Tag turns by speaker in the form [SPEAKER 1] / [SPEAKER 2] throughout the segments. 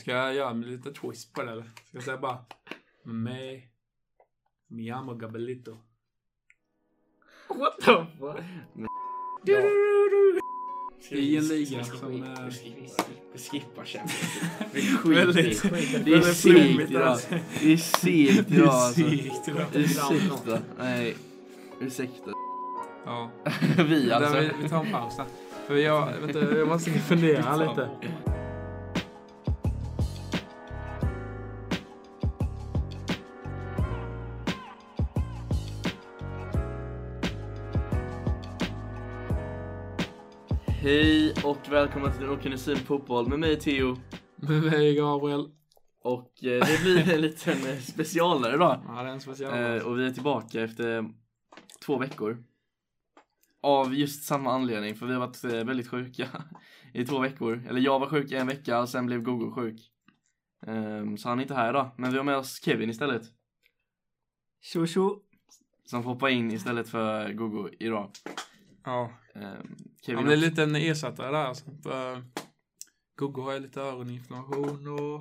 [SPEAKER 1] Ska jag göra en liten twist på det eller? Ska jag säga bara Me Mi amo Gabelito.
[SPEAKER 2] What the fuck?
[SPEAKER 3] Ja.
[SPEAKER 1] I en liga
[SPEAKER 3] Skip,
[SPEAKER 1] som,
[SPEAKER 3] skip,
[SPEAKER 1] eh,
[SPEAKER 3] skip, skip, Vi skippar Champions League. Vi
[SPEAKER 1] Väldigt-
[SPEAKER 3] skiter i- Det är
[SPEAKER 1] väldigt
[SPEAKER 3] segt
[SPEAKER 1] flummigt
[SPEAKER 3] idag.
[SPEAKER 1] alltså.
[SPEAKER 3] Det är segt
[SPEAKER 1] Det
[SPEAKER 3] idag
[SPEAKER 1] är
[SPEAKER 3] alltså.
[SPEAKER 1] segt idag.
[SPEAKER 3] Ursäkta. Nej. Ursäkta.
[SPEAKER 1] Ja.
[SPEAKER 3] Vi
[SPEAKER 1] Där
[SPEAKER 3] alltså.
[SPEAKER 1] vi, vi tar en paus där. För jag, vänta, jag måste fundera lite.
[SPEAKER 3] Hej och välkomna till Okunisin Fotboll med mig Theo.
[SPEAKER 1] Med mig Gabriel.
[SPEAKER 3] Och eh, det blir en liten eh, specialare idag.
[SPEAKER 1] Ja, det är en speciell.
[SPEAKER 3] Eh, och vi är tillbaka efter två veckor. Av just samma anledning, för vi har varit eh, väldigt sjuka i två veckor. Eller jag var sjuk i en vecka, och sen blev Gogo sjuk. Ehm, så han är inte här idag, men vi har med oss Kevin istället.
[SPEAKER 2] Tjo tjo.
[SPEAKER 3] Som får hoppa in istället för Gogo idag.
[SPEAKER 1] ja.
[SPEAKER 3] Ehm,
[SPEAKER 1] Han
[SPEAKER 3] Kevin
[SPEAKER 1] blir lite en ersättare där alltså. För Google har ju lite öroninflammation och...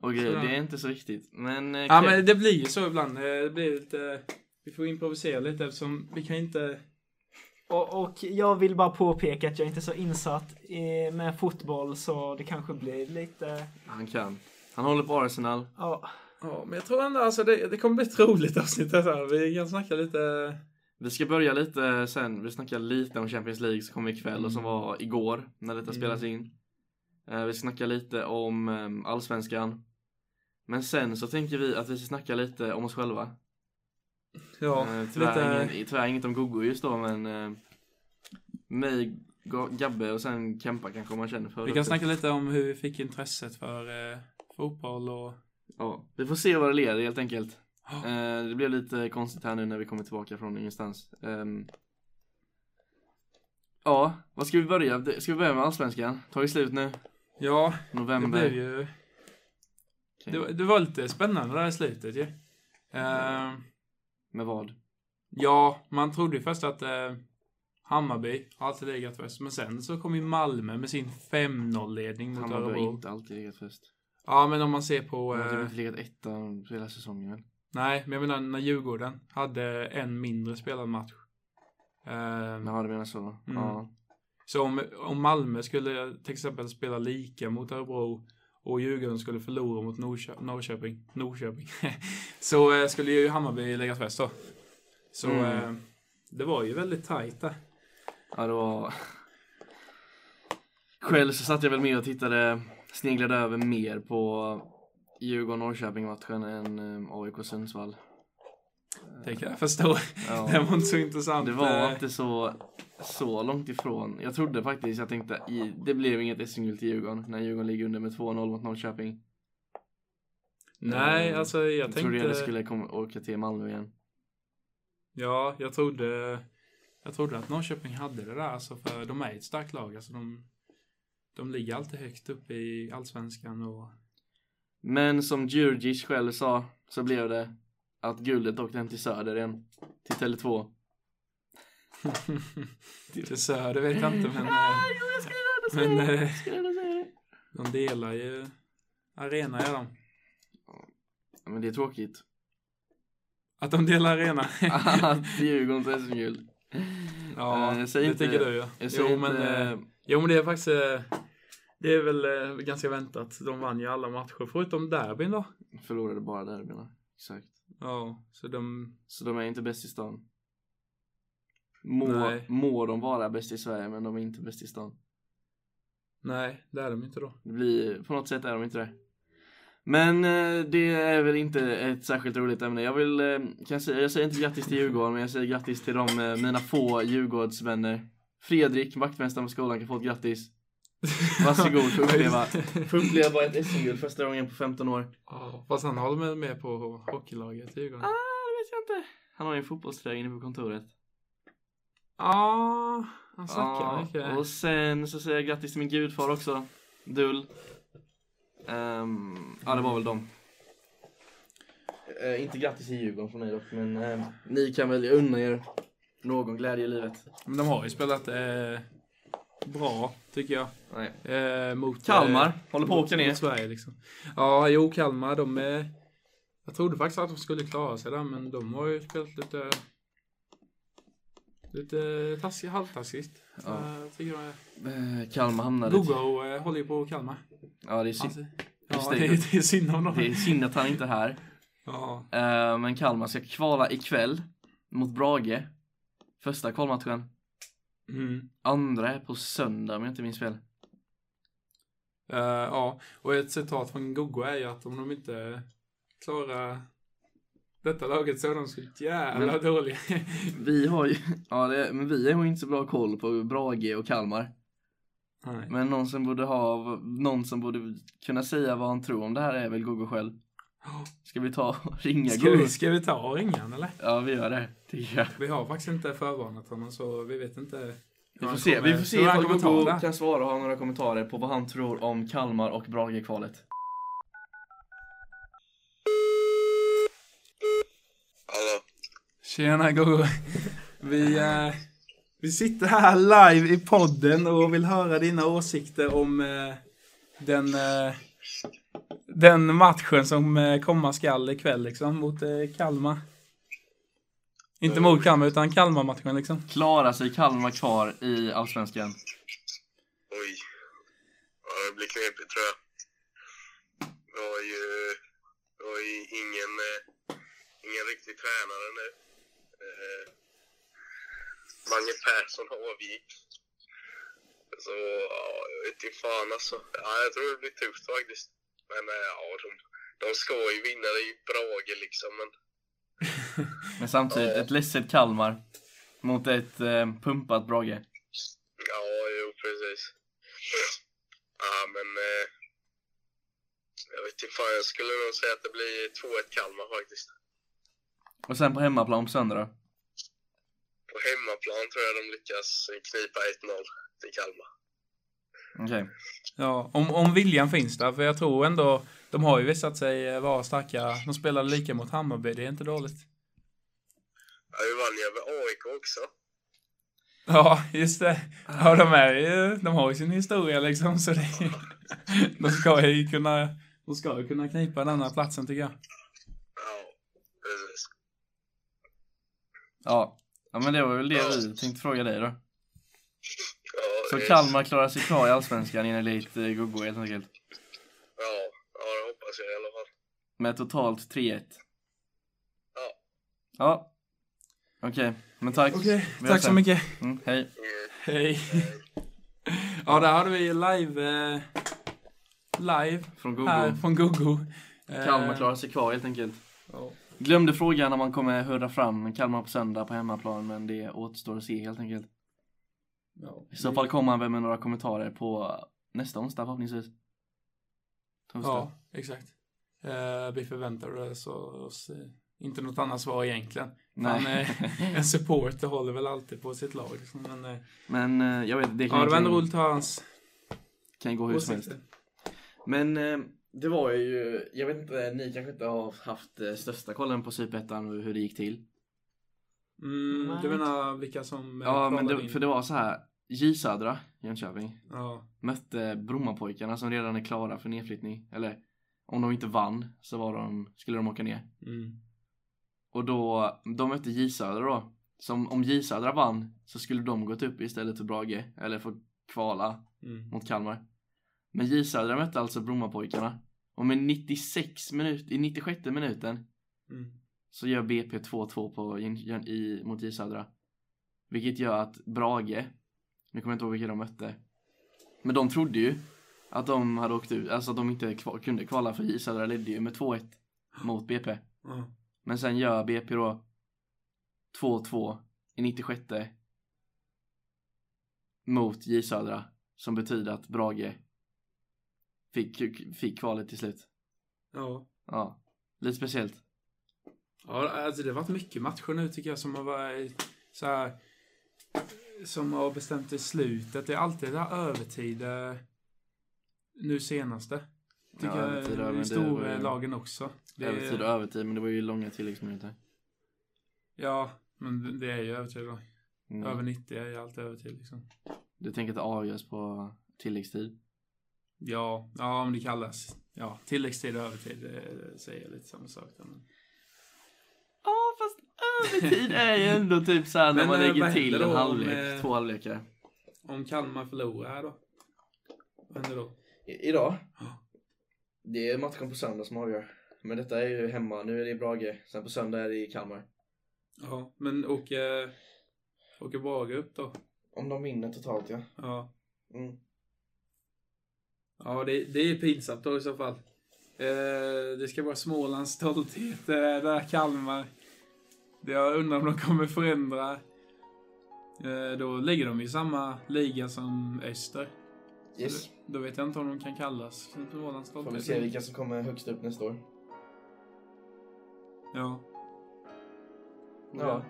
[SPEAKER 3] och grejer,
[SPEAKER 1] sådär.
[SPEAKER 3] det är inte så viktigt. Men, eh,
[SPEAKER 1] Ja
[SPEAKER 3] Kev-
[SPEAKER 1] men det blir ju så ibland. Eh, Det blir lite... Vi får improvisera lite eftersom vi kan inte...
[SPEAKER 2] Och, och jag vill bara påpeka att jag inte är så insatt i, med fotboll så det kanske blir lite...
[SPEAKER 3] han kan. Han håller på Arsenal.
[SPEAKER 2] Ja,
[SPEAKER 1] Ja men jag tror ändå alltså det, det kommer bli ett roligt avsnitt här. så här. Vi kan snacka lite...
[SPEAKER 3] Vi ska börja lite sen, vi snackar lite om Champions League som kom ikväll och som var igår när detta
[SPEAKER 1] Mm.
[SPEAKER 3] spelas in. Eh, Vi snackar lite om eh, allsvenskan. Men sen så tänker vi att vi ska snacka lite om oss själva.
[SPEAKER 1] Ja,
[SPEAKER 3] Eh, tyvärr,
[SPEAKER 1] lite...
[SPEAKER 3] ingen, tyvärr inget om Gogo just då men eh, mig, Ga- Gabbe och sen Kempa kanske om man känner för
[SPEAKER 1] Vi
[SPEAKER 3] det.
[SPEAKER 1] kan snacka lite om hur vi fick intresset för eh, fotboll och...
[SPEAKER 3] Ja, vi får se vad det leder helt enkelt.
[SPEAKER 1] Ja.
[SPEAKER 3] Eh, Det blev lite konstigt här nu när vi kommer tillbaka från ingenstans. Ehm, Ja, vad ska vi börja? Det- Ska vi börja med Allsvenskan? Tagit slut nu.
[SPEAKER 1] Ja, det
[SPEAKER 3] November.
[SPEAKER 1] blev ju...
[SPEAKER 3] Okej.
[SPEAKER 1] Det, var- det var lite spännande där i slutet ju. Eh,
[SPEAKER 3] Med vad?
[SPEAKER 1] Ja, man trodde ju först att eh, Hammarby har alltid legat först. Men sen så kom ju Malmö med sin 5-0-ledning mot
[SPEAKER 3] Hammarby har
[SPEAKER 1] Örebro.
[SPEAKER 3] inte alltid legat först.
[SPEAKER 1] Ja, men om man ser på...
[SPEAKER 3] De har typ
[SPEAKER 1] Eh, Mm.
[SPEAKER 3] inte legat etta hela säsongen väl?
[SPEAKER 1] nej, men jag menar när Djurgården hade en mindre spelad match. Eh,
[SPEAKER 3] Jaha, du menar så?
[SPEAKER 1] Mm.
[SPEAKER 3] Ja.
[SPEAKER 1] så om, om Malmö skulle till exempel spela lika mot Örebro och Djurgården skulle förlora mot Norrkö- Norrköping, Norrköping så eh, skulle ju Hammarby läggas först då. Så
[SPEAKER 3] Mm.
[SPEAKER 1] eh, det var ju väldigt tajt där.
[SPEAKER 3] Ja, det var... Själv så satt jag väl med och tittade, sneglade över mer på Djurgården-Norrköping-matchen än eh, AIK-Sundsvall.
[SPEAKER 1] Det kan jag förstå.
[SPEAKER 3] Ja.
[SPEAKER 1] Det var inte så intressant.
[SPEAKER 3] Det var
[SPEAKER 1] Eh,
[SPEAKER 3] inte så, så långt ifrån. Jag trodde faktiskt, jag tänkte, i, det blev inget SM-guld till Djurgården när Djurgården ligger under med 2-0 mot Norrköping.
[SPEAKER 1] Nej,
[SPEAKER 3] Eh,
[SPEAKER 1] alltså jag,
[SPEAKER 3] Jag,
[SPEAKER 1] tänkte...
[SPEAKER 3] trodde jag skulle komma, åka till Malmö igen.
[SPEAKER 1] Ja, jag trodde... Jag trodde att Norrköping hade det där, alltså för de är ett starkt lag. Alltså de, de ligger alltid högt upp i allsvenskan och...
[SPEAKER 3] Men som Djurdjic själv sa, så blev det att guldet åkte hem till Söder igen. Till Tele2.
[SPEAKER 1] Till Söder vet jag inte, men... eh, Men eh, de delar ju arena, gör de.
[SPEAKER 3] Men det är tråkigt.
[SPEAKER 1] Att de delar arena.
[SPEAKER 3] Att Djurgården tar SM-guld.
[SPEAKER 1] Ja,
[SPEAKER 3] Eh, jag
[SPEAKER 1] det
[SPEAKER 3] säger inte-
[SPEAKER 1] tycker du ja. Jo,
[SPEAKER 3] Jag säger
[SPEAKER 1] men... eh,
[SPEAKER 3] inte,
[SPEAKER 1] Jo men det är faktiskt eh, Det är väl eh, ganska väntat. De vann ju alla matcher förutom derbyn då.
[SPEAKER 3] förlorade bara derbyna. Exakt.
[SPEAKER 1] Ja, så de...
[SPEAKER 3] Så de är inte bäst i stan. Må,
[SPEAKER 1] Nej.
[SPEAKER 3] må de vara bäst i Sverige men de är inte bäst i stan.
[SPEAKER 1] Nej, det är de inte då.
[SPEAKER 3] Det blir, på något sätt är de inte det. Men eh, det är väl inte ett särskilt roligt ämne. Jag vill, eh, kan jag, säga, jag säger inte grattis till Djurgården men jag säger grattis till de, eh, mina få Djurgårdsvänner. Fredrik, vaktmästaren på skolan, kan få ett grattis. Varsågod, få uppleva. Få uppleva ett SM-guld första gången på 15 år.
[SPEAKER 1] Ja, fast han håller med, med på hockeylaget i Djurgården.
[SPEAKER 3] Ah, det vet jag inte. Han har ju en fotbollströja inne på kontoret.
[SPEAKER 1] Ja, han snackar
[SPEAKER 3] Ja,
[SPEAKER 1] mycket.
[SPEAKER 3] Och sen så säger jag grattis till min gudfar också. Dull. Ehm, ja, det var väl dem. Eh, inte grattis till Djurgården från mig dock, men ehm, ni kan väl unna er någon glädje i livet.
[SPEAKER 1] Men de har ju spelat eh, bra, tycker jag.
[SPEAKER 3] Nej.
[SPEAKER 1] Eh, mot,
[SPEAKER 3] Kalmar
[SPEAKER 1] eh,
[SPEAKER 3] håller på att
[SPEAKER 1] mot-
[SPEAKER 3] åka ner.
[SPEAKER 1] mot Sverige liksom. Ja, jo, Kalmar, de är... Jag trodde faktiskt att de skulle klara sig där, men de har ju spelat lite... Lite taskigt, halvtaskigt. Så
[SPEAKER 3] Ja.
[SPEAKER 1] jag tycker de är...
[SPEAKER 3] Eh, Kalmar hamnade...
[SPEAKER 1] Gogo eh, håller ju på Kalmar.
[SPEAKER 3] Ja, det är, synd,
[SPEAKER 1] Alltså,
[SPEAKER 3] Just
[SPEAKER 1] ja,
[SPEAKER 3] det.
[SPEAKER 1] det, är- det är synd om
[SPEAKER 3] det är
[SPEAKER 1] dem.
[SPEAKER 3] synd att han inte är här.
[SPEAKER 1] Ja,
[SPEAKER 3] Eh, men Kalmar ska kvala ikväll mot Brage. Första kvalmatchen.
[SPEAKER 1] mm.
[SPEAKER 3] Andra är på söndag om jag inte minns fel.
[SPEAKER 1] Eh, ja, och ett citat från Gogo är ju att om de inte klarar detta laget så är de så jävla
[SPEAKER 3] Men-
[SPEAKER 1] dåliga.
[SPEAKER 3] Vi har ju, ja det, men vi har ju inte så bra koll på Brage och Kalmar.
[SPEAKER 1] Nej.
[SPEAKER 3] Men någon som borde ha, någon som borde kunna säga vad han tror om det här är väl Gogo själv. Ska vi ta och ringa
[SPEAKER 1] Ska
[SPEAKER 3] Gogo?
[SPEAKER 1] vi, ska vi ta och ringa han, eller?
[SPEAKER 3] Ja vi gör det, tycker jag.
[SPEAKER 1] Vi har faktiskt inte förvarnat honom så vi vet inte hur
[SPEAKER 3] Vi får
[SPEAKER 1] han
[SPEAKER 3] se,
[SPEAKER 1] kommer-
[SPEAKER 3] vi får se
[SPEAKER 1] hur han
[SPEAKER 3] ifall
[SPEAKER 1] kommer ta
[SPEAKER 3] Gogo
[SPEAKER 1] det.
[SPEAKER 3] kan svara och ha några kommentarer på vad han tror om Kalmar och Brage-kvalet.
[SPEAKER 4] Hallå?
[SPEAKER 1] Tjena Gogo! Vi, eh, vi sitter här live i podden och vill höra dina åsikter om eh, den, eh, den matchen som eh, komma skall ikväll liksom mot eh, Kalmar. Inte mot Kalmar utan Kalmar-matchen liksom.
[SPEAKER 3] Klarar sig Kalmar kvar i Allsvenskan?
[SPEAKER 4] Oj. Ja, det blir knepigt tror jag. Vi har ju, vi har ju ingen, eh, ingen riktig tränare nu. Eh, Mange Persson har avgick. Så ja, jag vet inte fan alltså. Ja, jag tror det blir tufft faktiskt. Men eh, ja, de, de ska ju vinna. Det är ju Brage liksom. Men
[SPEAKER 3] Men samtidigt, ett ledset Kalmar mot ett eh, pumpat Brage.
[SPEAKER 4] Ja, jo precis. Ja, men... Eh, jag vet inte fan, jag skulle nog säga att det blir 2-1 Kalmar faktiskt.
[SPEAKER 3] Och sen på hemmaplan på söndag då?
[SPEAKER 4] På hemmaplan tror jag de lyckas knipa 1-0 till Kalmar.
[SPEAKER 3] Okej.
[SPEAKER 1] Ja, om, om viljan finns där, för jag tror ändå de har ju visat sig eh, vara starka. De spelade lika mot Hammarby, det är inte dåligt.
[SPEAKER 4] Ja, vi vann ju över AIK också.
[SPEAKER 1] Ja, just det. Ja, de, är ju, de har ju sin historia liksom, så det, de ska ju kunna, de ska ju kunna knipa den andra platsen tycker jag.
[SPEAKER 4] Ja, precis.
[SPEAKER 3] Ja. ja, men det var väl det vi tänkte fråga dig då.
[SPEAKER 4] Ja, eh,
[SPEAKER 3] Så
[SPEAKER 4] det-
[SPEAKER 3] Kalmar klarar sig kvar i Allsvenskan enligt eh, Gogo helt enkelt.
[SPEAKER 4] Ja, ja, det hoppas jag i alla fall.
[SPEAKER 3] Med totalt 3-1.
[SPEAKER 4] Ja.
[SPEAKER 3] Ja. Okej, men tack.
[SPEAKER 1] Okej,
[SPEAKER 3] Vi
[SPEAKER 1] tack
[SPEAKER 3] hörs
[SPEAKER 1] så
[SPEAKER 3] sen.
[SPEAKER 1] mycket.
[SPEAKER 3] Mm, hej.
[SPEAKER 4] Mm.
[SPEAKER 1] Hej. Ja, där hade vi live, eh, live
[SPEAKER 3] Från Gogo.
[SPEAKER 1] här från Gogo. Eh,
[SPEAKER 3] Kalmar klarar sig kvar helt enkelt.
[SPEAKER 1] ja.
[SPEAKER 3] Glömde frågan när man kommer hurra fram Kalmar på söndag på hemmaplan men det återstår att se helt enkelt.
[SPEAKER 1] Ja.
[SPEAKER 3] I så fall kommer han väl med några kommentarer på nästa onsdag förhoppningsvis. Torsdag.
[SPEAKER 1] Ja, exakt. Eh, vi förväntar oss, oss eh, inte något annat svar egentligen. Han,
[SPEAKER 3] Nej.
[SPEAKER 1] eh, en supporter håller väl alltid på sitt lag. Liksom, men, eh,
[SPEAKER 3] Men eh, jag vet, det kan,
[SPEAKER 1] ja, det var ändå
[SPEAKER 3] kan,
[SPEAKER 1] roligt att höra hans
[SPEAKER 3] kan gå hur som helst.
[SPEAKER 1] åsikter.
[SPEAKER 3] Men eh, det var ju, jag vet inte, ni kanske inte har haft eh, största kollen på Superettan och hur det gick till.
[SPEAKER 1] Mm,
[SPEAKER 2] Nej.
[SPEAKER 1] du menar vilka som eh,
[SPEAKER 3] Ja, men
[SPEAKER 1] kvalade
[SPEAKER 3] det,
[SPEAKER 1] in?
[SPEAKER 3] för det var så här. J Södra, Jönköping,
[SPEAKER 1] Ja,
[SPEAKER 3] mötte Brommapojkarna som redan är klara för nedflyttning. Eller om de inte vann så var de, skulle de åka ner.
[SPEAKER 1] mm.
[SPEAKER 3] Och då, de mötte J Södra då. Som om J Södra vann så skulle de gått upp istället för Brage. Eller få kvala
[SPEAKER 1] Mm.
[SPEAKER 3] mot Kalmar. Men J Södra mötte alltså Brommapojkarna. Och med 96 minut, i 96 minuten
[SPEAKER 1] Mm.
[SPEAKER 3] så gör BP 2-2 på, Jön- Jön- i, mot J Södra. Vilket gör att Brage, nu kommer jag inte ihåg vilka de mötte, men de trodde ju att de hade åkt ut, alltså att de inte kva- kunde kvala för J Södra ledde ju med 2-1 mot BP.
[SPEAKER 1] Ja.
[SPEAKER 3] Men sen gör BP då 2-2 i 96 mot J Södra som betyder att Brage fick, fick kvalet till slut.
[SPEAKER 1] Ja.
[SPEAKER 3] Ja, lite speciellt.
[SPEAKER 1] ja, alltså det har varit mycket matcher nu tycker jag som har varit så här som har bestämt i slutet. Det är alltid det här övertid eh, nu senaste. Tycker
[SPEAKER 3] Ja,
[SPEAKER 1] jag,
[SPEAKER 3] övertid, men
[SPEAKER 1] de
[SPEAKER 3] det var
[SPEAKER 1] stora
[SPEAKER 3] ju-
[SPEAKER 1] lagen också. Det är-
[SPEAKER 3] Övertid och övertid, men det var ju långa tilläggsminuter.
[SPEAKER 1] Ja, men det är ju övertid då.
[SPEAKER 3] Mm.
[SPEAKER 1] Över 90 är ju alltid övertid liksom.
[SPEAKER 3] Du tänker att det avgörs på tilläggstid?
[SPEAKER 1] Ja, ja om det kallas. Ja, tilläggstid och övertid det säger lite samma sak. där, Men,
[SPEAKER 3] Ja, fast övertid är ju ändå typ såhär när
[SPEAKER 1] Men,
[SPEAKER 3] man
[SPEAKER 1] eh,
[SPEAKER 3] lägger
[SPEAKER 1] vad
[SPEAKER 3] till
[SPEAKER 1] händer
[SPEAKER 3] en
[SPEAKER 1] då om,
[SPEAKER 3] halvlek,
[SPEAKER 1] eh,
[SPEAKER 3] två halvlekar.
[SPEAKER 1] om Kalmar förlorar här då? Vad händer då?
[SPEAKER 5] I- Idag?
[SPEAKER 1] Ja.
[SPEAKER 5] Det är matchen på söndag som avgör. Men detta är ju hemma. Nu är det i Brage. Sen på söndag är det i Kalmar.
[SPEAKER 1] Ja, men åker, åker Brage upp då?
[SPEAKER 5] Om de vinner totalt ja.
[SPEAKER 1] Ja,
[SPEAKER 5] Mm.
[SPEAKER 1] ja det, det är pinsamt då i så fall. Eh, det ska vara Smålands stolthet, eh, där Kalmar. Det jag undrar om de kommer förändra. Eh, då ligger de i samma liga som Öster.
[SPEAKER 5] Yes.
[SPEAKER 1] Då vet jag inte om de kan kallas Smålands
[SPEAKER 5] Får vi se
[SPEAKER 1] stolthet.
[SPEAKER 5] vilka som kommer högst upp nästa år.
[SPEAKER 1] Ja.
[SPEAKER 5] Ja.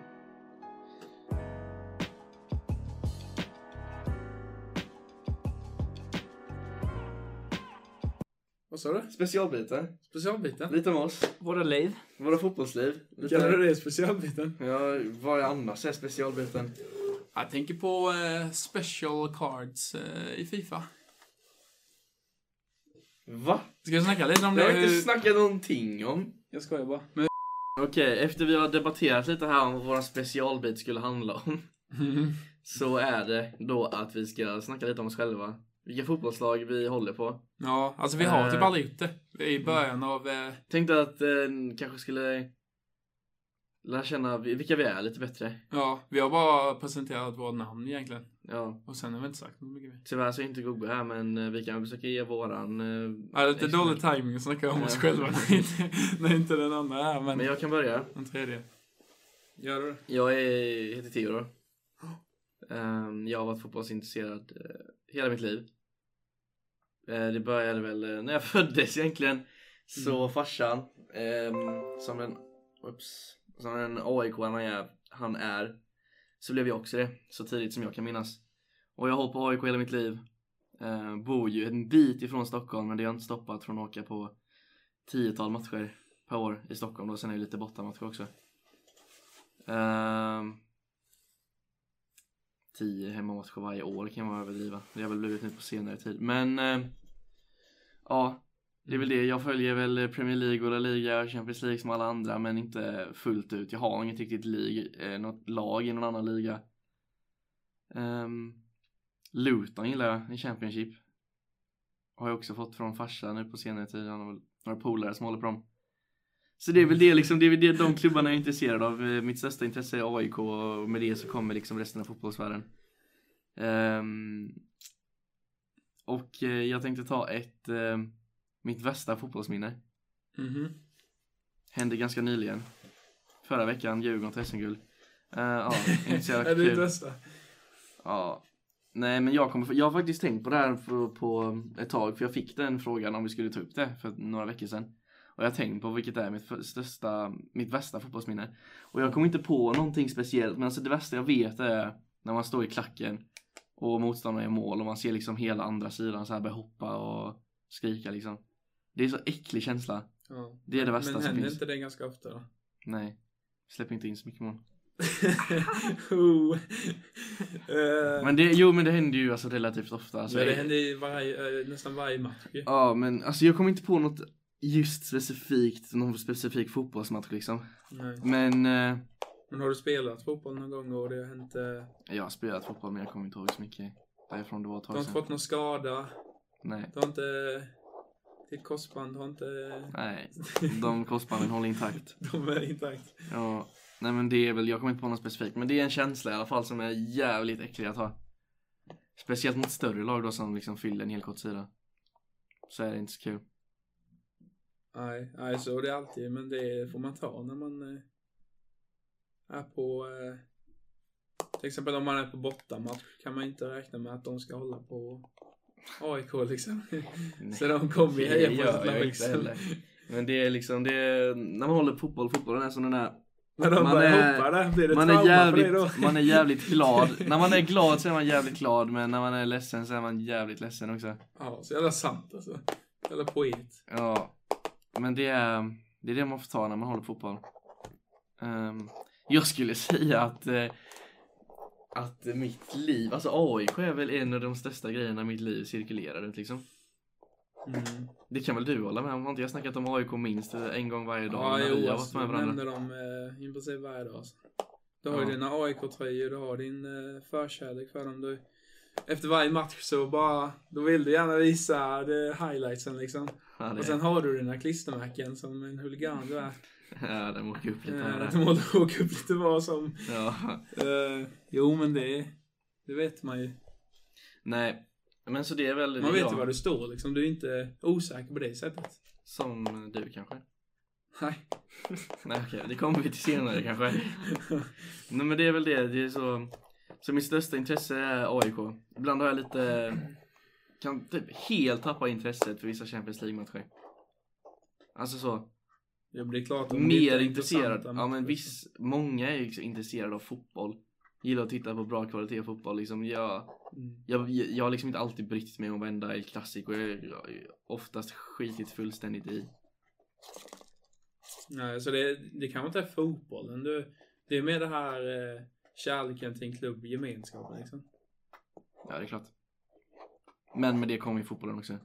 [SPEAKER 1] Vad sa du?
[SPEAKER 5] Specialbiten.
[SPEAKER 1] Specialbiten?
[SPEAKER 5] Lite om oss.
[SPEAKER 2] Våra liv.
[SPEAKER 5] Våra fotbollsliv.
[SPEAKER 1] Kallar
[SPEAKER 5] Lite...
[SPEAKER 1] du det specialbiten?
[SPEAKER 5] Ja, vad är annars är specialbiten?
[SPEAKER 1] Jag tänker på eh, special cards eh, i Fifa.
[SPEAKER 5] Va?
[SPEAKER 1] Ska vi snacka lite om
[SPEAKER 5] Det
[SPEAKER 1] det?
[SPEAKER 5] har vi inte
[SPEAKER 1] Hur-
[SPEAKER 5] snackat någonting om.
[SPEAKER 1] Jag skojar bara. Men...
[SPEAKER 3] Okej, efter vi har debatterat lite här om vad vår specialbit skulle handla om. Så är det då att vi ska snacka lite om oss själva. Vilka fotbollslag vi håller på.
[SPEAKER 1] Ja, alltså vi har
[SPEAKER 3] Eh.
[SPEAKER 1] typ aldrig gjort det. I början av... Eh,
[SPEAKER 3] Tänkte att eh, kanske skulle lära känna vi- vilka vi är lite bättre.
[SPEAKER 1] ja, vi har bara presenterat vårt namn egentligen.
[SPEAKER 3] Ja,
[SPEAKER 1] Och sen har vi inte sagt något mycket mer.
[SPEAKER 3] tyvärr så är inte Goggo här men eh, vi kan försöka ge våran... eh,
[SPEAKER 1] Ja, det är lite
[SPEAKER 3] extra-
[SPEAKER 1] dålig timing att snacka om oss
[SPEAKER 3] Ja.
[SPEAKER 1] själva när inte, när inte den andra är men...
[SPEAKER 3] Men jag kan börja.
[SPEAKER 1] Den tredje. Gör du det?
[SPEAKER 3] Jag är, heter Theodor. Ehm, jag har varit fotbollsintresserad eh, hela mitt liv. Eh, det började väl eh, när jag föddes egentligen.
[SPEAKER 5] Så farsan, ehm, som en, ups,
[SPEAKER 3] Som en aik han är, han är så blev jag också det. Så tidigt som jag kan minnas. Och jag har hållit på AIK hela mitt liv. Eh, bor ju en bit ifrån Stockholm men det har inte stoppat från att åka på tiotal matcher per år i Stockholm då. Sen är det lite bortamatcher också. Ehm, tio hemmamatcher varje år kan man överdriva. Det har väl blivit nu på senare tid. Men eh, ja, det är väl det. Jag följer väl Premier League och La Liga och Champions League som alla andra men inte fullt ut. Jag har inget riktigt lig, eh, något lag i någon annan liga. Ehm, Luton gillar jag i Championship. Har jag också fått från farsan nu på senare tid. Han har väl några polare som håller på dem. Så det är
[SPEAKER 1] Mm.
[SPEAKER 3] väl det liksom, det är väl det de klubbarna jag är intresserad av. Eh, Mitt största intresse är AIK och med det så kommer liksom resten av fotbollsvärlden. Ehm, och eh, jag tänkte ta ett, eh, mitt värsta fotbollsminne.
[SPEAKER 1] Mhm.
[SPEAKER 3] Hände ganska nyligen. Förra veckan, Djurgården till guld Eh, Ja, inte så jävla
[SPEAKER 1] är det ditt
[SPEAKER 3] kul.
[SPEAKER 1] bästa?
[SPEAKER 3] Ja. Nej men jag, kommer, jag har faktiskt tänkt på det här på, på um, ett tag för jag fick den frågan om vi skulle ta upp det för några veckor sedan. Och jag har tänkt på vilket är mitt för- största, mitt värsta fotbollsminne. Och jag kommer inte på någonting speciellt men alltså det värsta jag vet är när man står i klacken och motståndaren gör mål och man ser liksom hela andra sidan så här börja hoppa och skrika liksom. Det är så äcklig känsla.
[SPEAKER 1] Ja.
[SPEAKER 3] Det är det värsta
[SPEAKER 1] Men
[SPEAKER 3] som
[SPEAKER 1] händer
[SPEAKER 3] finns.
[SPEAKER 1] inte det ganska ofta då?
[SPEAKER 3] Nej. Släpp inte in så mycket mål.
[SPEAKER 1] oh. Eh,
[SPEAKER 3] Men det, jo men det händer ju alltså relativt ofta. Alltså,
[SPEAKER 1] men det händer i varje, eh, nästan varje match ju.
[SPEAKER 3] Ja men alltså jag kommer inte på något just specifikt, någon specifik fotbollsmatch liksom.
[SPEAKER 1] Nej.
[SPEAKER 3] Men eh,
[SPEAKER 1] Men har du spelat fotboll någon gång och det har hänt... eh,
[SPEAKER 3] jag har spelat fotboll men jag kommer inte ihåg så mycket därifrån det var ett
[SPEAKER 1] Du har
[SPEAKER 3] tag
[SPEAKER 1] inte
[SPEAKER 3] sedan.
[SPEAKER 1] fått någon skada?
[SPEAKER 3] Nej.
[SPEAKER 1] Du har inte... eh, Ditt korsband har inte...
[SPEAKER 3] Nej, de korsbanden håller intakt.
[SPEAKER 1] De är intakt.
[SPEAKER 3] Ja, nej men det är väl, jag kommer inte på något specifikt men det är en känsla i alla fall som är jävligt äcklig att ha. Speciellt mot större lag då som liksom fyller en hel kort sida. Så är det inte så kul.
[SPEAKER 1] Nej, nej, så är det alltid. Men det får man ta när man eh, är på... Eh, till exempel om man är på bortamatch kan man inte räkna med att de ska hålla på AIK liksom. så de kommer ju
[SPEAKER 3] Det
[SPEAKER 1] heja på
[SPEAKER 3] gör
[SPEAKER 1] sitt
[SPEAKER 3] jag
[SPEAKER 1] lag
[SPEAKER 3] inte
[SPEAKER 1] liksom.
[SPEAKER 3] heller. Men det är liksom, det är, när man håller fotboll, fotbollen är som den där
[SPEAKER 1] När de
[SPEAKER 3] Man
[SPEAKER 1] börjar
[SPEAKER 3] är-
[SPEAKER 1] hoppa där blir det
[SPEAKER 3] man
[SPEAKER 1] trauma
[SPEAKER 3] är,
[SPEAKER 1] för dig
[SPEAKER 3] jävligt,
[SPEAKER 1] då.
[SPEAKER 3] man är jävligt glad. när man är glad så är man jävligt glad men när man är ledsen så är man jävligt ledsen också.
[SPEAKER 1] Ja, så jävla sant alltså. Jävla poet.
[SPEAKER 3] Ja. Men det är det, är det man får ta när man håller på fotboll. Ehm, jag skulle säga att eh, att mitt liv, alltså AIK är väl en av de största grejerna mitt liv cirkulerar runt liksom.
[SPEAKER 6] Mm.
[SPEAKER 3] Det kan väl du hålla med om? Har inte jag snackat om AIK minst en gång varje dag
[SPEAKER 1] Ja,
[SPEAKER 3] när vi
[SPEAKER 1] jo,
[SPEAKER 3] har varit
[SPEAKER 1] alltså,
[SPEAKER 3] med
[SPEAKER 1] du
[SPEAKER 3] varandra?
[SPEAKER 1] nämner dem eh, i princip varje dag. Alltså. Du har
[SPEAKER 3] Ja.
[SPEAKER 1] ju dina AIK-tröjor, du har din eh, förkärlek för dem. Du, efter varje match så bara, då vill du gärna visa det, highlightsen liksom.
[SPEAKER 3] Ja, det,
[SPEAKER 1] Och sen har du dina klistermärken som en huligan du är.
[SPEAKER 3] ja, den åker upp lite här och
[SPEAKER 1] Eh,
[SPEAKER 3] där.
[SPEAKER 1] De håller åka upp lite vad som.
[SPEAKER 3] Ja.
[SPEAKER 1] Eh, jo men det, det vet man ju.
[SPEAKER 3] Nej, men så det är väl
[SPEAKER 1] Man vet
[SPEAKER 3] jag
[SPEAKER 1] ju var du står liksom. Du är inte osäker på det sättet.
[SPEAKER 3] som du kanske?
[SPEAKER 1] Nej.
[SPEAKER 3] Nej okej, det kommer vi till senare kanske. Nej men det är väl det, det är så. Så mitt största intresse är AIK. Ibland har jag lite, kan typ helt tappa intresset för vissa Champions League-matcher. Alltså så,
[SPEAKER 1] Det blir klart om det
[SPEAKER 3] mer
[SPEAKER 1] inte är
[SPEAKER 3] intresserad.
[SPEAKER 1] intressanta
[SPEAKER 3] Ja men
[SPEAKER 1] matcher.
[SPEAKER 3] viss, många är ju också intresserade av fotboll. Gillar att titta på bra kvalitet i fotboll liksom. Jag,
[SPEAKER 1] Mm.
[SPEAKER 3] jag, jag har liksom inte alltid brytt mig om varenda El Clasico. Jag har oftast skitit fullständigt i.
[SPEAKER 1] Nej, så det, det kanske inte är fotbollen. Du, det är mer det här eh, kärleken till en klubb, gemenskapen liksom.
[SPEAKER 3] Ja det är klart. Men med det kommer ju fotbollen också.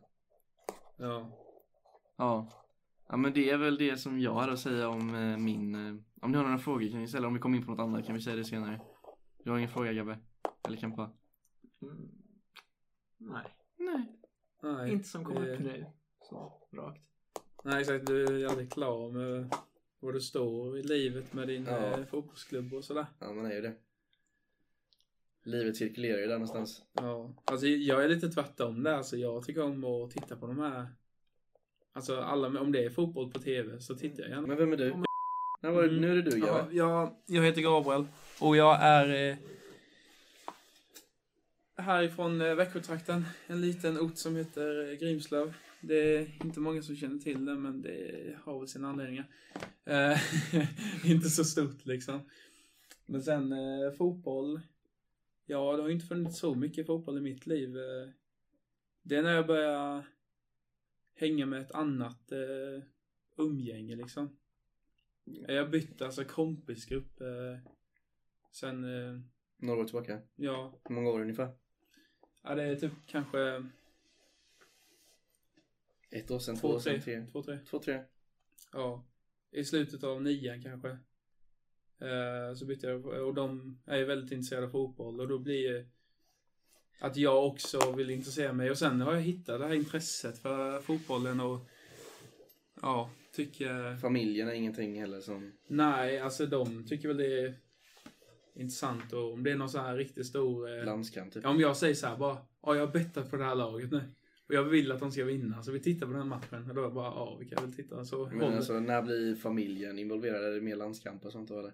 [SPEAKER 1] Ja.
[SPEAKER 3] Ja. ja, men det är väl det som jag hade att säga om eh, min... eh, Om ni har några frågor kan ni ställa, om vi kommer in på något annat kan vi säga det senare. Du har ingen fråga Gabbe? Eller Kampa?
[SPEAKER 2] Mm. Nej,
[SPEAKER 3] Nej.
[SPEAKER 1] Nej,
[SPEAKER 2] inte som kommer
[SPEAKER 1] eh,
[SPEAKER 2] upp nu. Så, rakt.
[SPEAKER 1] Nej, exakt. Du är aldrig klar med var du står i livet med din
[SPEAKER 7] Ja.
[SPEAKER 1] eh, fotbollsklubb och sådär.
[SPEAKER 7] Ja, man är ju det. Livet cirkulerar ju där någonstans.
[SPEAKER 1] Ja. Alltså, jag är lite tvärtom där. Alltså, jag tycker om att titta på de här... Alltså, alla, om det är fotboll på tv så tittar jag gärna.
[SPEAKER 7] Men vem är du? När var det, nu är det du,
[SPEAKER 1] Ja,
[SPEAKER 7] Gabbe.
[SPEAKER 1] jag, jag heter Gabriel och jag är eh, härifrån eh, Växjötrakten. En liten ort som heter eh, Grimslöv. Det är inte många som känner till det men det har väl sina anledningar. Eh, inte så stort liksom. Men sen eh, fotboll. Ja, det har ju inte funnits så mycket fotboll i mitt liv. Eh, det är när jag börjar hänga med ett annat eh, umgänge liksom. Jag bytte alltså kompisgrupp eh, sen, eh,
[SPEAKER 7] Några år tillbaka.
[SPEAKER 1] ja,
[SPEAKER 7] Hur många år ungefär?
[SPEAKER 1] ja, det är typ kanske
[SPEAKER 7] Ett år sedan, två,
[SPEAKER 1] två,
[SPEAKER 7] år sedan, tre.
[SPEAKER 1] tre. Två, tre.
[SPEAKER 7] Två, tre.
[SPEAKER 1] Ja, i slutet av nian kanske. Eh, så bytte jag och de är ju väldigt intresserade av fotboll och då blir det att jag också vill intressera mig och sen har jag hittat det här intresset för fotbollen och ja, tycker
[SPEAKER 7] Familjen är ingenting heller som...
[SPEAKER 1] nej, alltså de tycker väl det är intressant och om det är någon så här riktigt stor eh,
[SPEAKER 7] Landskamp typ.
[SPEAKER 1] Ja, Om jag säger så här bara, ja jag har bettat på det här laget nu. Och jag vill att de ska vinna, så vi tittar på den här matchen. Och då är jag bara, ja vi kan väl titta. Så
[SPEAKER 7] Men alltså när blir familjen involverad? Är det mer landskamp och sånt då eller?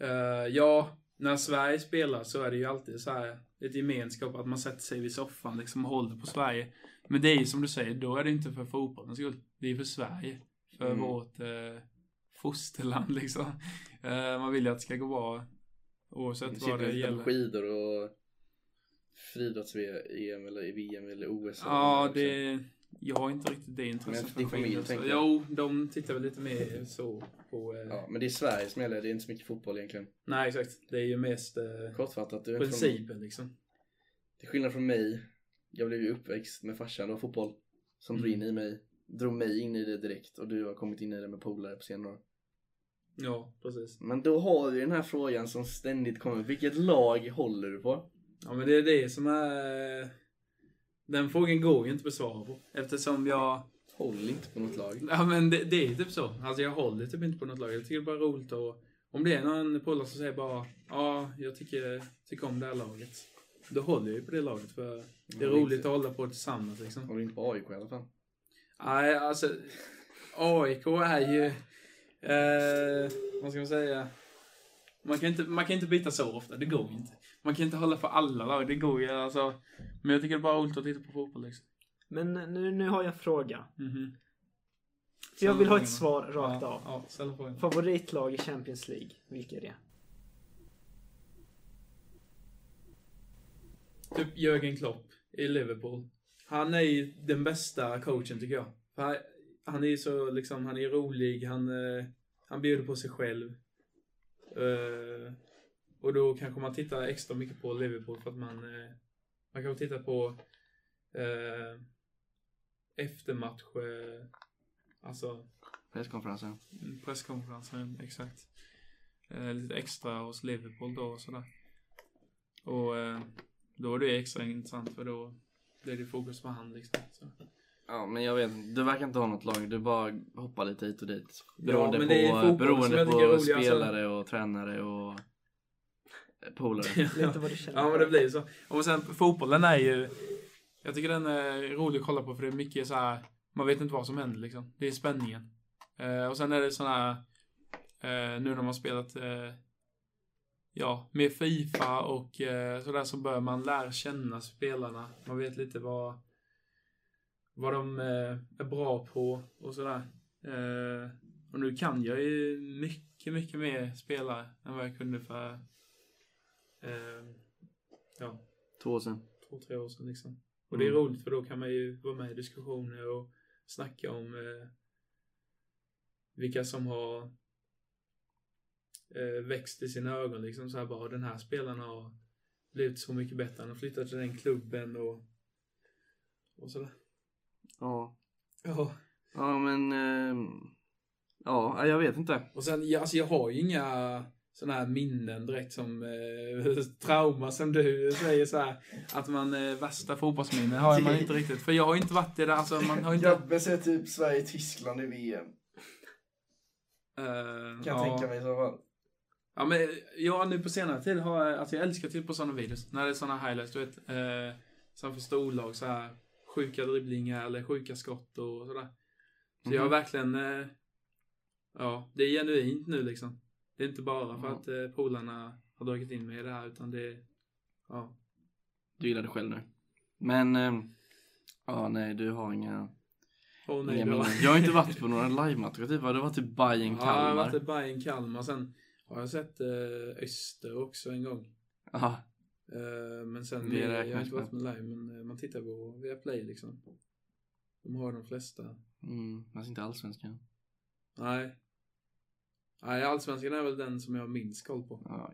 [SPEAKER 1] Eh, ja, när Sverige spelar så är det ju alltid så här ett gemenskap att man sätter sig vid soffan liksom och håller på Sverige. Men det är ju som du säger, då är det inte för fotbollens skull. Det är för Sverige. För
[SPEAKER 7] Mm.
[SPEAKER 1] vårt eh, fosterland liksom. Eh, man vill ju att det ska gå bra oavsett
[SPEAKER 7] Sitter
[SPEAKER 1] vad
[SPEAKER 7] och
[SPEAKER 1] det
[SPEAKER 7] tittar på
[SPEAKER 1] gäller.
[SPEAKER 7] skidor och friidrotts-EM eller i VM eller OS?
[SPEAKER 1] Ja,
[SPEAKER 7] eller något
[SPEAKER 1] det... Jag har inte riktigt det intresset
[SPEAKER 7] Men din familj,
[SPEAKER 1] skidor, så-
[SPEAKER 7] tänker jag.
[SPEAKER 1] Jo, de tittar väl lite mer så på... Eh,
[SPEAKER 7] sånt. Ja, men det är Sverige som gäller, det är inte så mycket fotboll egentligen.
[SPEAKER 1] Nej, exakt. Det är ju mest eh,
[SPEAKER 7] Kortfattat, du är inte från,
[SPEAKER 1] principen liksom.
[SPEAKER 7] till skillnad från mig, jag blev ju uppväxt med farsan, det var fotboll som drog in i mig, drog mig in i det direkt och du har kommit in i det med polare på senare år.
[SPEAKER 1] Ja, precis.
[SPEAKER 7] Men då har vi den här frågan som ständigt kommer, vilket lag håller du på?
[SPEAKER 1] Ja, men det är det som är... eh, Den frågan går ju inte att besvara på. Eftersom jag...
[SPEAKER 7] Håll inte på något lag.
[SPEAKER 1] Ja, men det, det är typ så. Alltså jag håller typ inte på något lag. Jag tycker det är bara roligt och... Om det är någon polare som säger bara ja, jag tycker, tycker om det här laget. Då håller jag ju på det laget för det
[SPEAKER 7] Ja,
[SPEAKER 1] är roligt
[SPEAKER 7] riktigt.
[SPEAKER 1] att hålla på tillsammans liksom.
[SPEAKER 7] Håller inte på AIK i alla fall.
[SPEAKER 1] Nej, alltså AIK är ju... Eh, vad ska man säga? Man kan, inte, man kan inte byta så ofta, det går ju inte. Man kan inte hålla på alla lag, det går ju alltså. Men jag tycker det är bara roligt att titta på fotboll liksom.
[SPEAKER 2] Men nu, nu har jag en fråga.
[SPEAKER 1] Mhm.
[SPEAKER 2] Jag vill ha
[SPEAKER 1] Ställ
[SPEAKER 2] ett svar rakt
[SPEAKER 1] ja,
[SPEAKER 2] av.
[SPEAKER 1] Ja, ställ frågan.
[SPEAKER 2] Favoritlag i Champions League, vilka är det?
[SPEAKER 1] Typ Jürgen Klopp i Liverpool. Han är ju den bästa coachen tycker jag. För han- han är ju så liksom, han är rolig, han, eh, han bjuder på sig själv. Eh, Och då kanske man tittar extra mycket på Liverpool för att man eh, man kanske tittar på eh, eftermatch eh, alltså
[SPEAKER 3] Presskonferensen.
[SPEAKER 1] Mm, Presskonferensen, exakt. Eh, lite extra hos Liverpool då och sådär. Och eh, då är det extra intressant för då blir det fokus på han liksom. Så.
[SPEAKER 3] Ja, men jag vet Du verkar inte ha något lag. Du bara hoppar lite hit och dit.
[SPEAKER 1] Ja,
[SPEAKER 3] Beroende
[SPEAKER 1] men
[SPEAKER 3] på,
[SPEAKER 1] det är fotboll som
[SPEAKER 3] beroende
[SPEAKER 1] jag tycker är
[SPEAKER 3] på
[SPEAKER 1] roligast. alltså.
[SPEAKER 3] spelare och tränare och eh, polare.
[SPEAKER 2] Lite vad du känner.
[SPEAKER 1] Ja men det blir så. Och sen fotbollen är ju, jag tycker den är rolig att kolla på för det är mycket så här. man vet inte vad som händer liksom. Det är spänningen. Eh, och sen är det såna här, eh, nu när man spelat, eh, ja, med Fifa och eh, sådär så börjar man lära känna spelarna. Man vet lite vad, vad de eh, är bra på och sådär. Eh, och nu kan jag ju mycket, mycket mer spelare än vad jag kunde för eh, ja,
[SPEAKER 3] Två år sedan.
[SPEAKER 1] två, tre år sedan liksom. Och det är roligt för då kan man ju vara med i diskussioner och snacka om eh, vilka som har eh, växt i sina ögon liksom så här bara den här spelaren har blivit så mycket bättre, han har flyttat till den klubben och, och sådär.
[SPEAKER 3] Ja.
[SPEAKER 1] Ja,
[SPEAKER 3] Ja, men... ehm, ja, jag vet inte.
[SPEAKER 1] och sen jag, alltså jag har ju inga sådana här minnen direkt som eh, trauma som du säger så här att man eh, värsta fotbollsminnen har man inte riktigt för jag har ju inte varit i det alltså man har ju inte
[SPEAKER 7] Gabbe ser typ Sverige-Tyskland i VM.
[SPEAKER 1] Eh,
[SPEAKER 7] Kan jag
[SPEAKER 1] ja.
[SPEAKER 7] tänka mig i så fall.
[SPEAKER 1] Ja, men ja, nu på senare tid har jag, alltså jag älskar typ på sådana videos. När det är sådana highlights, du vet. Eh, som för storlag, så här sjuka dribblingar eller sjuka skott och sådär. Så jag har verkligen, eh, ja, det är genuint nu liksom. Det är inte bara för
[SPEAKER 3] Ja.
[SPEAKER 1] att eh, polarna har dragit in mig i det här, utan det är, ja.
[SPEAKER 3] Du gillar det själv nu. Men... ehm, ja, nej, du har inga...
[SPEAKER 1] Åh nej,
[SPEAKER 3] inga
[SPEAKER 1] det var-
[SPEAKER 3] minnen. Jag har inte varit på några livematcher. Typ. Du har varit i Bayern
[SPEAKER 1] Ja, jag har
[SPEAKER 3] Kalmar.
[SPEAKER 1] varit i Bayern Kalmar. Sen har jag sett eh, Öster också en gång.
[SPEAKER 3] Ja,
[SPEAKER 1] Eh, men sen,
[SPEAKER 3] Det
[SPEAKER 1] jag har
[SPEAKER 3] räknas
[SPEAKER 1] inte varit med live, men eh, man tittar på Viaplay liksom. De har de flesta.
[SPEAKER 3] mm, men inte alls svenska.
[SPEAKER 1] Nej. Nej, Allsvenskan är väl den som jag har minst koll på.
[SPEAKER 3] Ja,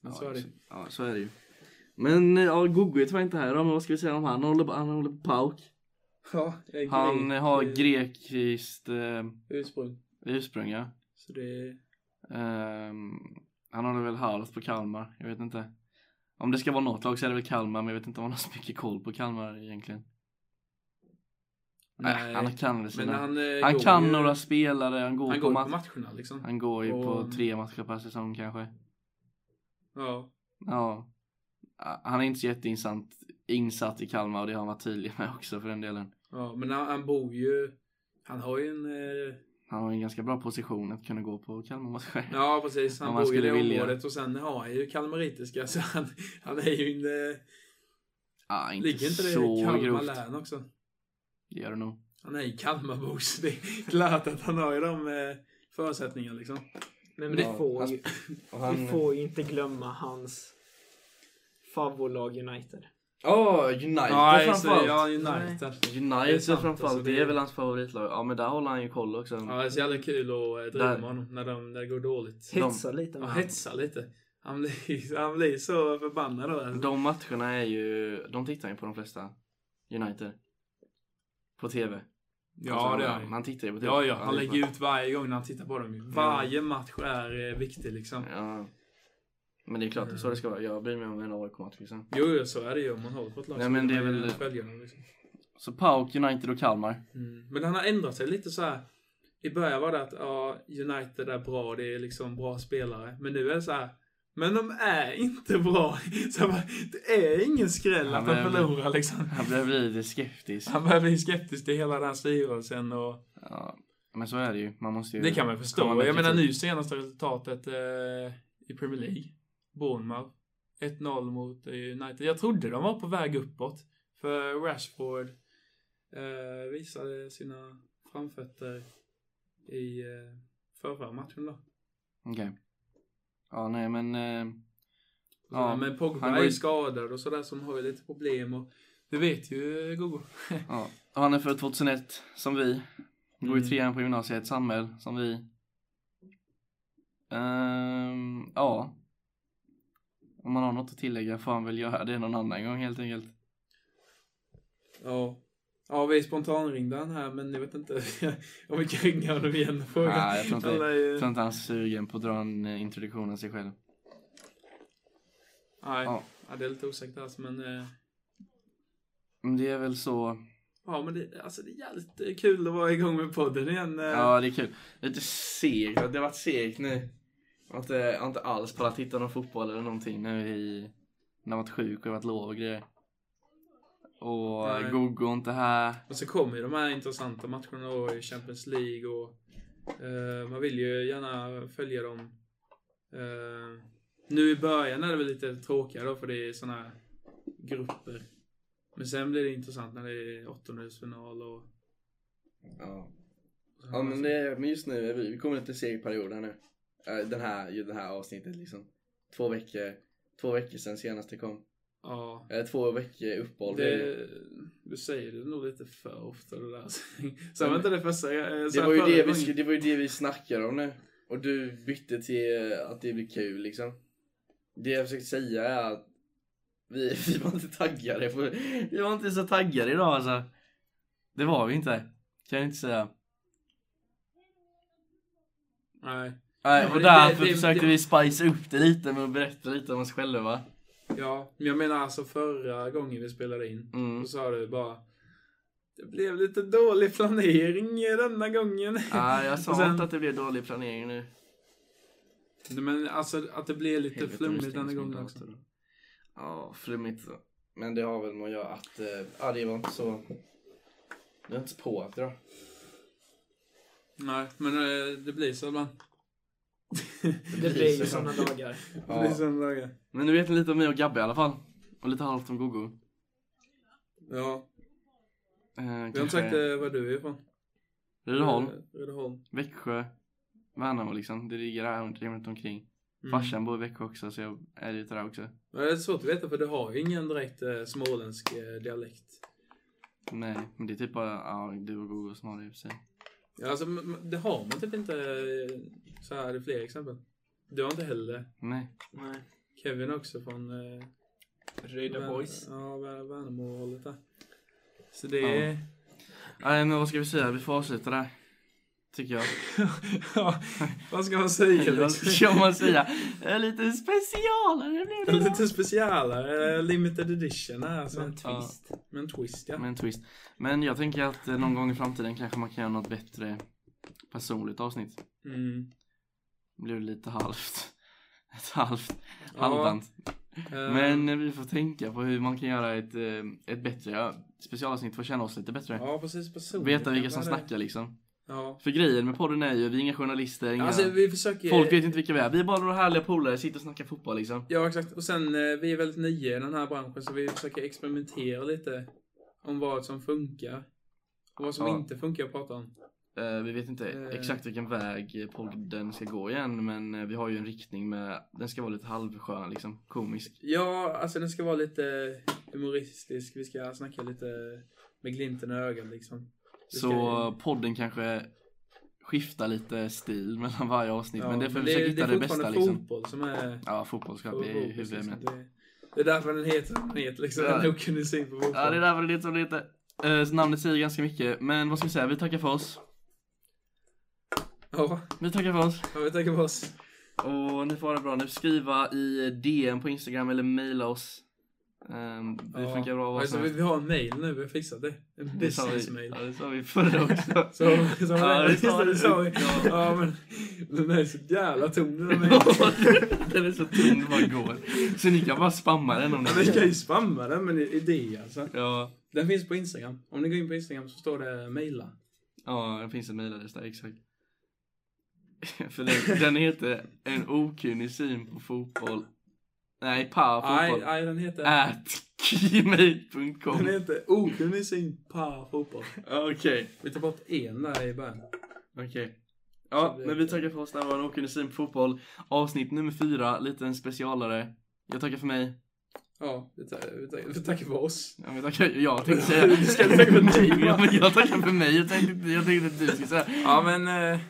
[SPEAKER 1] Men
[SPEAKER 3] ja,
[SPEAKER 1] så är det.
[SPEAKER 3] Ja, så är det ju. Men eh, ja, Gogo är tyvärr inte här idag, men vad ska vi säga om han? Han håller på, han håller på Pauk.
[SPEAKER 1] Ja, jag är
[SPEAKER 3] Han
[SPEAKER 1] grek,
[SPEAKER 3] har
[SPEAKER 1] eh,
[SPEAKER 3] grekiskt eh,
[SPEAKER 1] Ursprung.
[SPEAKER 3] ursprung, ja.
[SPEAKER 1] Så det är...
[SPEAKER 3] Ehm, han håller väl halvt på Kalmar, jag vet inte. Om det ska vara något lag så är det väl Kalmar, men jag vet inte om han har så mycket koll på Kalmar egentligen. Nej, han kan väl
[SPEAKER 1] men
[SPEAKER 3] sina. Han,
[SPEAKER 1] han, eh, går
[SPEAKER 3] kan
[SPEAKER 1] ju,
[SPEAKER 3] några spelare, han går,
[SPEAKER 1] Han
[SPEAKER 3] på,
[SPEAKER 1] går
[SPEAKER 3] mat-
[SPEAKER 1] på matcherna liksom.
[SPEAKER 3] Han går ju på
[SPEAKER 1] Och-
[SPEAKER 3] tre matcher per säsong kanske.
[SPEAKER 1] Ja.
[SPEAKER 3] Ja. Ah, Han är inte så jätteinsatt insatt i Kalmar och det har han varit tydlig med också för den delen.
[SPEAKER 1] ja. Men han, han bor ju... Han har ju en... eh,
[SPEAKER 3] Han har en ganska bra position att kunna gå på Kalmar-matcher.
[SPEAKER 1] Ja, precis. Han
[SPEAKER 3] Om man
[SPEAKER 1] bor ju i det
[SPEAKER 3] skulle vilja.
[SPEAKER 1] området och sen har han ju kalmaritiska så han, han är ju en... eh,
[SPEAKER 3] Ah, inte
[SPEAKER 1] Ligger inte det i
[SPEAKER 3] så
[SPEAKER 1] Kalmar
[SPEAKER 3] grovt.
[SPEAKER 1] län också?
[SPEAKER 3] Det gör det nog.
[SPEAKER 1] Han är ju Kalmarbo så det är klart att han har ju de eh, förutsättningarna liksom.
[SPEAKER 2] Men
[SPEAKER 1] Men
[SPEAKER 2] vi
[SPEAKER 1] det-
[SPEAKER 2] får
[SPEAKER 7] han-
[SPEAKER 2] ju,
[SPEAKER 7] Och
[SPEAKER 2] vi
[SPEAKER 7] han...
[SPEAKER 2] får ju inte glömma hans favoritlag United.
[SPEAKER 7] Ja, United
[SPEAKER 1] Ja, just det.
[SPEAKER 7] framförallt.
[SPEAKER 1] Ja, United.
[SPEAKER 3] United
[SPEAKER 1] är sant,
[SPEAKER 3] framförallt,
[SPEAKER 1] alltså,
[SPEAKER 3] det...
[SPEAKER 1] det-
[SPEAKER 3] är väl hans favoritlag. Ja men där håller han ju koll också.
[SPEAKER 1] Ja, det är så jävla kul att eh, driva
[SPEAKER 3] Där.
[SPEAKER 1] med honom när, de, när det går dåligt.
[SPEAKER 3] De-
[SPEAKER 2] Hetsa lite
[SPEAKER 1] Han
[SPEAKER 2] med
[SPEAKER 1] hetsar lite. Han blir, han blir så förbannad då. alltså.
[SPEAKER 3] De matcherna är ju, de tittar ju på de flesta United. På TV.
[SPEAKER 1] Ja, det är
[SPEAKER 3] han.
[SPEAKER 1] han.
[SPEAKER 3] Han tittar ju på TV.
[SPEAKER 1] Ja, ja. Han
[SPEAKER 3] det är Mm.
[SPEAKER 1] lägger
[SPEAKER 3] klart.
[SPEAKER 1] ut varje gång när han tittar på dem. ju. Varje match är eh, viktig liksom.
[SPEAKER 3] Ja. Men det är klart, det är så det ska vara. Jag bryr mig om en AIK-match liksom.
[SPEAKER 1] Jo, jo, så är det ju om man håller på ett lag.
[SPEAKER 3] Nej,
[SPEAKER 1] så
[SPEAKER 3] men
[SPEAKER 1] vill
[SPEAKER 3] det är
[SPEAKER 1] man ju
[SPEAKER 3] väl-
[SPEAKER 1] följa dem, liksom.
[SPEAKER 3] Så Pauk, United och Kalmar.
[SPEAKER 1] Mm. Men han har ändrat sig lite så här. I början var det att ja, United är bra, det är liksom bra spelare. Men nu är det så här. Men de är inte bra. Så jag bara, det är ingen skräll
[SPEAKER 3] Ja,
[SPEAKER 1] att de
[SPEAKER 3] men-
[SPEAKER 1] förlorar liksom.
[SPEAKER 3] Jag börjar bli lite skeptisk.
[SPEAKER 1] Han börjar bli skeptisk till hela den här styrelsen och
[SPEAKER 3] Ja, men så är det ju. Man måste ju...
[SPEAKER 1] det kan man
[SPEAKER 3] komma
[SPEAKER 1] förstå.
[SPEAKER 3] med
[SPEAKER 1] Jag menar
[SPEAKER 3] kritik.
[SPEAKER 1] nu senaste resultatet eh, i Premier League. Bournemouth. 1-0 mot eh, United. Jag trodde de var på väg uppåt. För Rashford eh, visade sina framfötter i eh, förra matchen då.
[SPEAKER 3] Okej. Ja, nej men... eh,
[SPEAKER 1] Ja,
[SPEAKER 3] Ja,
[SPEAKER 1] men Pogba
[SPEAKER 3] han
[SPEAKER 1] är
[SPEAKER 3] går
[SPEAKER 1] ju
[SPEAKER 3] ju-
[SPEAKER 1] skadad och sådär som har ju lite problem och det vet ju Gogo.
[SPEAKER 3] Ja. Han är född 2001, som vi. Går i
[SPEAKER 1] Mm.
[SPEAKER 3] trean på gymnasiet, Samuel, som vi. Ehm, ja. Om man har något att tillägga får han väl göra det någon annan gång helt enkelt.
[SPEAKER 1] Ja. Ja, vi spontanringde han här, men jag vet inte om vi kan ringa honom igen och fråga.
[SPEAKER 3] Nej, jag tror inte-
[SPEAKER 1] Han lär ju-
[SPEAKER 3] Jag tror inte han är sugen på att dra en eh, introduktion av sig själv.
[SPEAKER 1] Nej,
[SPEAKER 3] Ja.
[SPEAKER 1] ja. det är lite osäkert alltså, men... eh,
[SPEAKER 3] Men det är väl så.
[SPEAKER 1] Ja, men det, alltså, det är jävligt kul att vara igång med podden igen. eh.
[SPEAKER 3] Ja, det är kul. Lite
[SPEAKER 7] Segt, det har varit segt nu. Jag har inte, jag har inte alls
[SPEAKER 3] Bara titta någon fotboll eller någonting nu i... När man varit sjuk och det har varit lov och grejer.
[SPEAKER 1] Nej.
[SPEAKER 3] Och Gogo inte här.
[SPEAKER 1] Och så kommer ju de här intressanta matcherna då i Champions League och eh, man vill ju gärna följa dem. Eh, nu i början är det väl lite tråkigare då för det är såna här grupper. Men sen blir det intressant när det är åttondelsfinal och...
[SPEAKER 7] Ja. Ja men, det, men just nu, är vi, vi kommer lite seg period här nu. Eh, Den här, ju det här avsnittet liksom. Två veckor, två veckor sedan senast det kom.
[SPEAKER 1] Ja.
[SPEAKER 7] Eh, Två veckor uppehåll.
[SPEAKER 1] Det, du säger det nog lite för ofta det där. Sen var inte det första... eh,
[SPEAKER 7] Det
[SPEAKER 1] så här
[SPEAKER 7] var, ju
[SPEAKER 1] förra
[SPEAKER 7] det, vi,
[SPEAKER 1] gången.
[SPEAKER 7] sku- det var ju det vi snackade om nu. Och du bytte till eh, att det blir kul liksom. Det jag försökte säga är att vi, vi var inte taggade. På,
[SPEAKER 3] Vi var inte så taggade idag alltså. Det var vi inte. Kan jag inte säga.
[SPEAKER 1] Nej.
[SPEAKER 3] Nej,
[SPEAKER 1] Ja,
[SPEAKER 3] och
[SPEAKER 1] det-
[SPEAKER 3] därför
[SPEAKER 1] det- det-
[SPEAKER 3] försökte
[SPEAKER 1] det-
[SPEAKER 3] vi spice upp det lite med att berätta lite om oss själva.
[SPEAKER 1] Ja, men jag menar alltså förra gången vi spelade in.
[SPEAKER 3] Mm.
[SPEAKER 1] Då sa du bara... Det blev lite dålig planering denna gången.
[SPEAKER 3] Ah, jag sa
[SPEAKER 1] Och sen-
[SPEAKER 3] inte att det blev dålig planering nu.
[SPEAKER 1] Nej, men alltså att det blev lite
[SPEAKER 3] Helvete, nu
[SPEAKER 1] flummigt
[SPEAKER 3] stängs
[SPEAKER 1] denna
[SPEAKER 3] min
[SPEAKER 1] gången också.
[SPEAKER 3] dator.
[SPEAKER 7] ja, flummigt. så. Men det har väl med att göra att, eh, ja det var inte så. Det var inte så på efter då.
[SPEAKER 1] Nej, men eh, det blir så ibland.
[SPEAKER 2] Det blir ju sådana dagar.
[SPEAKER 1] Det blir sådana dagar.
[SPEAKER 3] Men nu vet ni lite om mig och Gabbe i alla fall. Och lite halvt om Gogo. Eh,
[SPEAKER 1] Ja, vi har inte
[SPEAKER 3] kanske
[SPEAKER 1] sagt eh, var du är ifrån.
[SPEAKER 3] Rydaholm,
[SPEAKER 1] Eh, Rydaholm.
[SPEAKER 3] Växjö, Värnamo liksom. Det ligger här runt- runt omkring.
[SPEAKER 1] Mm.
[SPEAKER 3] Farsan bor i Växjö också så jag är lite där också.
[SPEAKER 1] Men det är svårt att veta för du har ju ingen direkt eh, småländsk eh, dialekt.
[SPEAKER 3] Nej, men det är typ bara ja, du och Gogo som har det i och för sig.
[SPEAKER 1] Ja, Alltså, m- m- det har man typ inte eh, så här i fler exempel. Du har inte heller.
[SPEAKER 3] Nej.
[SPEAKER 2] Nej.
[SPEAKER 1] Kevin är också från eh,
[SPEAKER 2] Röda
[SPEAKER 1] Vär-
[SPEAKER 2] boys.
[SPEAKER 1] Ja, Vär- Värnamo-hållet där. Så det är...
[SPEAKER 3] Nej, men vad ska vi säga? Vi får avsluta där. Tycker jag.
[SPEAKER 1] Ja, vad ska man säga
[SPEAKER 3] Vad
[SPEAKER 1] liksom?
[SPEAKER 3] ska man säga? Eh, Lite specialare blev det. idag.
[SPEAKER 1] Lite specialare, eh, limited edition här alltså.
[SPEAKER 2] Men twist.
[SPEAKER 1] Med en twist ja.
[SPEAKER 3] Med en twist. Men jag tänker att eh, någon gång i framtiden kanske man kan göra något bättre personligt avsnitt.
[SPEAKER 1] Mm.
[SPEAKER 3] Blev lite halvt. Ett halvt.
[SPEAKER 1] Ja,
[SPEAKER 3] Halvdant.
[SPEAKER 1] eh,
[SPEAKER 3] Men eh, vi får tänka på hur man kan göra ett, eh, ett bättre ja, specialavsnitt för att känna oss lite bättre.
[SPEAKER 1] Ja, precis. personligen
[SPEAKER 3] Veta vilka som
[SPEAKER 1] kanske det är.
[SPEAKER 3] snackar liksom.
[SPEAKER 1] Ja.
[SPEAKER 3] För grejen med podden är ju, vi är inga journalister, inga...
[SPEAKER 1] Alltså vi försöker...
[SPEAKER 3] Folk vet inte vilka vi är. Vi är bara några härliga polare, sitter och snackar fotboll liksom.
[SPEAKER 1] Ja, exakt. Och sen, eh, vi är väldigt nya i den här branschen så vi försöker experimentera lite om vad som funkar. Och vad som
[SPEAKER 3] Ja.
[SPEAKER 1] inte funkar att prata om.
[SPEAKER 3] Eh, vi vet inte
[SPEAKER 1] Eh.
[SPEAKER 3] exakt vilken väg eh, podden ska gå igen, men eh, vi har ju en riktning med, den ska vara lite halvskön liksom, komisk.
[SPEAKER 1] Ja, alltså den ska vara lite humoristisk. Vi ska snacka lite med glimten i ögat liksom. Vi ska-
[SPEAKER 3] Så podden kanske skiftar lite stil mellan varje avsnitt. typ, men det är för att vi försöker hitta det, bästa
[SPEAKER 1] Det är
[SPEAKER 3] liksom.
[SPEAKER 1] fotboll som är...
[SPEAKER 3] Ja, fotbollskamp är ju
[SPEAKER 1] fokus, liksom.
[SPEAKER 3] huvudämnet.
[SPEAKER 1] Det- Det är därför den heter som den heter liksom.
[SPEAKER 3] Ja.
[SPEAKER 1] Den är okunnig syn på fotboll.
[SPEAKER 3] Ja, det där var det lite som det heter. Eh, så namnet säger ganska mycket. Men vad ska vi säga? Vi tackar för oss.
[SPEAKER 1] Ja,
[SPEAKER 3] Vi tackar för oss.
[SPEAKER 1] ja, vi tackar för oss.
[SPEAKER 3] Och ni får ha det bra. Ni får skriva i DM på Instagram eller mejla oss. Um, det
[SPEAKER 1] Ja.
[SPEAKER 3] funkar bra. vad
[SPEAKER 1] Alltså,
[SPEAKER 3] som
[SPEAKER 1] vi,
[SPEAKER 3] helst.
[SPEAKER 1] vi har en mail nu, vi har fixat det. En
[SPEAKER 3] Det sa vi-
[SPEAKER 1] business-mail.
[SPEAKER 3] Ja, det sa vi förra också.
[SPEAKER 1] Så, så,
[SPEAKER 3] Ja, det sa
[SPEAKER 1] det sa vi.
[SPEAKER 3] du. Ja.
[SPEAKER 1] Ja, men den är så jävla tom den där mailen.
[SPEAKER 3] den är så tunn det bara går. Så ni kan bara spamma den om ni
[SPEAKER 1] Ja, Vi kan ju spamma den med idé alltså.
[SPEAKER 3] Ja,
[SPEAKER 1] Den finns på Instagram. Om ni går in på Instagram så står det mejla.
[SPEAKER 3] ja det finns en mejladress där, exakt. För den, den heter En okunnig syn på fotboll. Nej, pa
[SPEAKER 1] Nej,
[SPEAKER 3] fotboll.
[SPEAKER 1] nej, den heter...
[SPEAKER 3] at gmail.com
[SPEAKER 1] Den heter Okunnig syn på fotboll.
[SPEAKER 3] Okej,
[SPEAKER 1] Vi tar bort en där i början.
[SPEAKER 3] okej. Ja,
[SPEAKER 1] Så det-
[SPEAKER 3] men vi tackar för oss. Det här var en okunnig syn på fotboll. Avsnitt nummer fyra, liten specialare. Jag tackar för mig.
[SPEAKER 1] Ja, vi tackar, vi tackar, vi tackar för oss.
[SPEAKER 3] Ja, men tackar, jag tänkte säga... Du
[SPEAKER 1] ska inte tacka för dig, va?
[SPEAKER 3] ja, men jag tackar för mig. Jag tänkte, jag tänkte att du skulle säga.
[SPEAKER 1] Ja, men... Eh,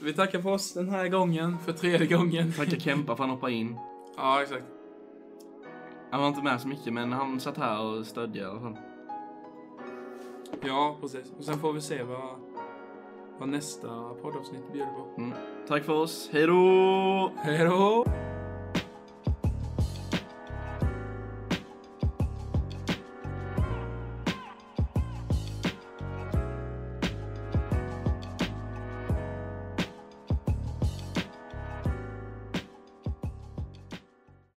[SPEAKER 1] vi tackar för oss den här gången, för tredje gången.
[SPEAKER 3] Tackar Kempa för att han hoppade in.
[SPEAKER 1] Ja, exakt.
[SPEAKER 3] Han var inte med så mycket men han satt här och stödde i alla fall.
[SPEAKER 1] Ja, precis. Och sen får vi se vad,
[SPEAKER 3] Mm.
[SPEAKER 1] vad nästa poddavsnitt bjuder på.
[SPEAKER 3] Tack för oss, hejdå!
[SPEAKER 1] Hej då!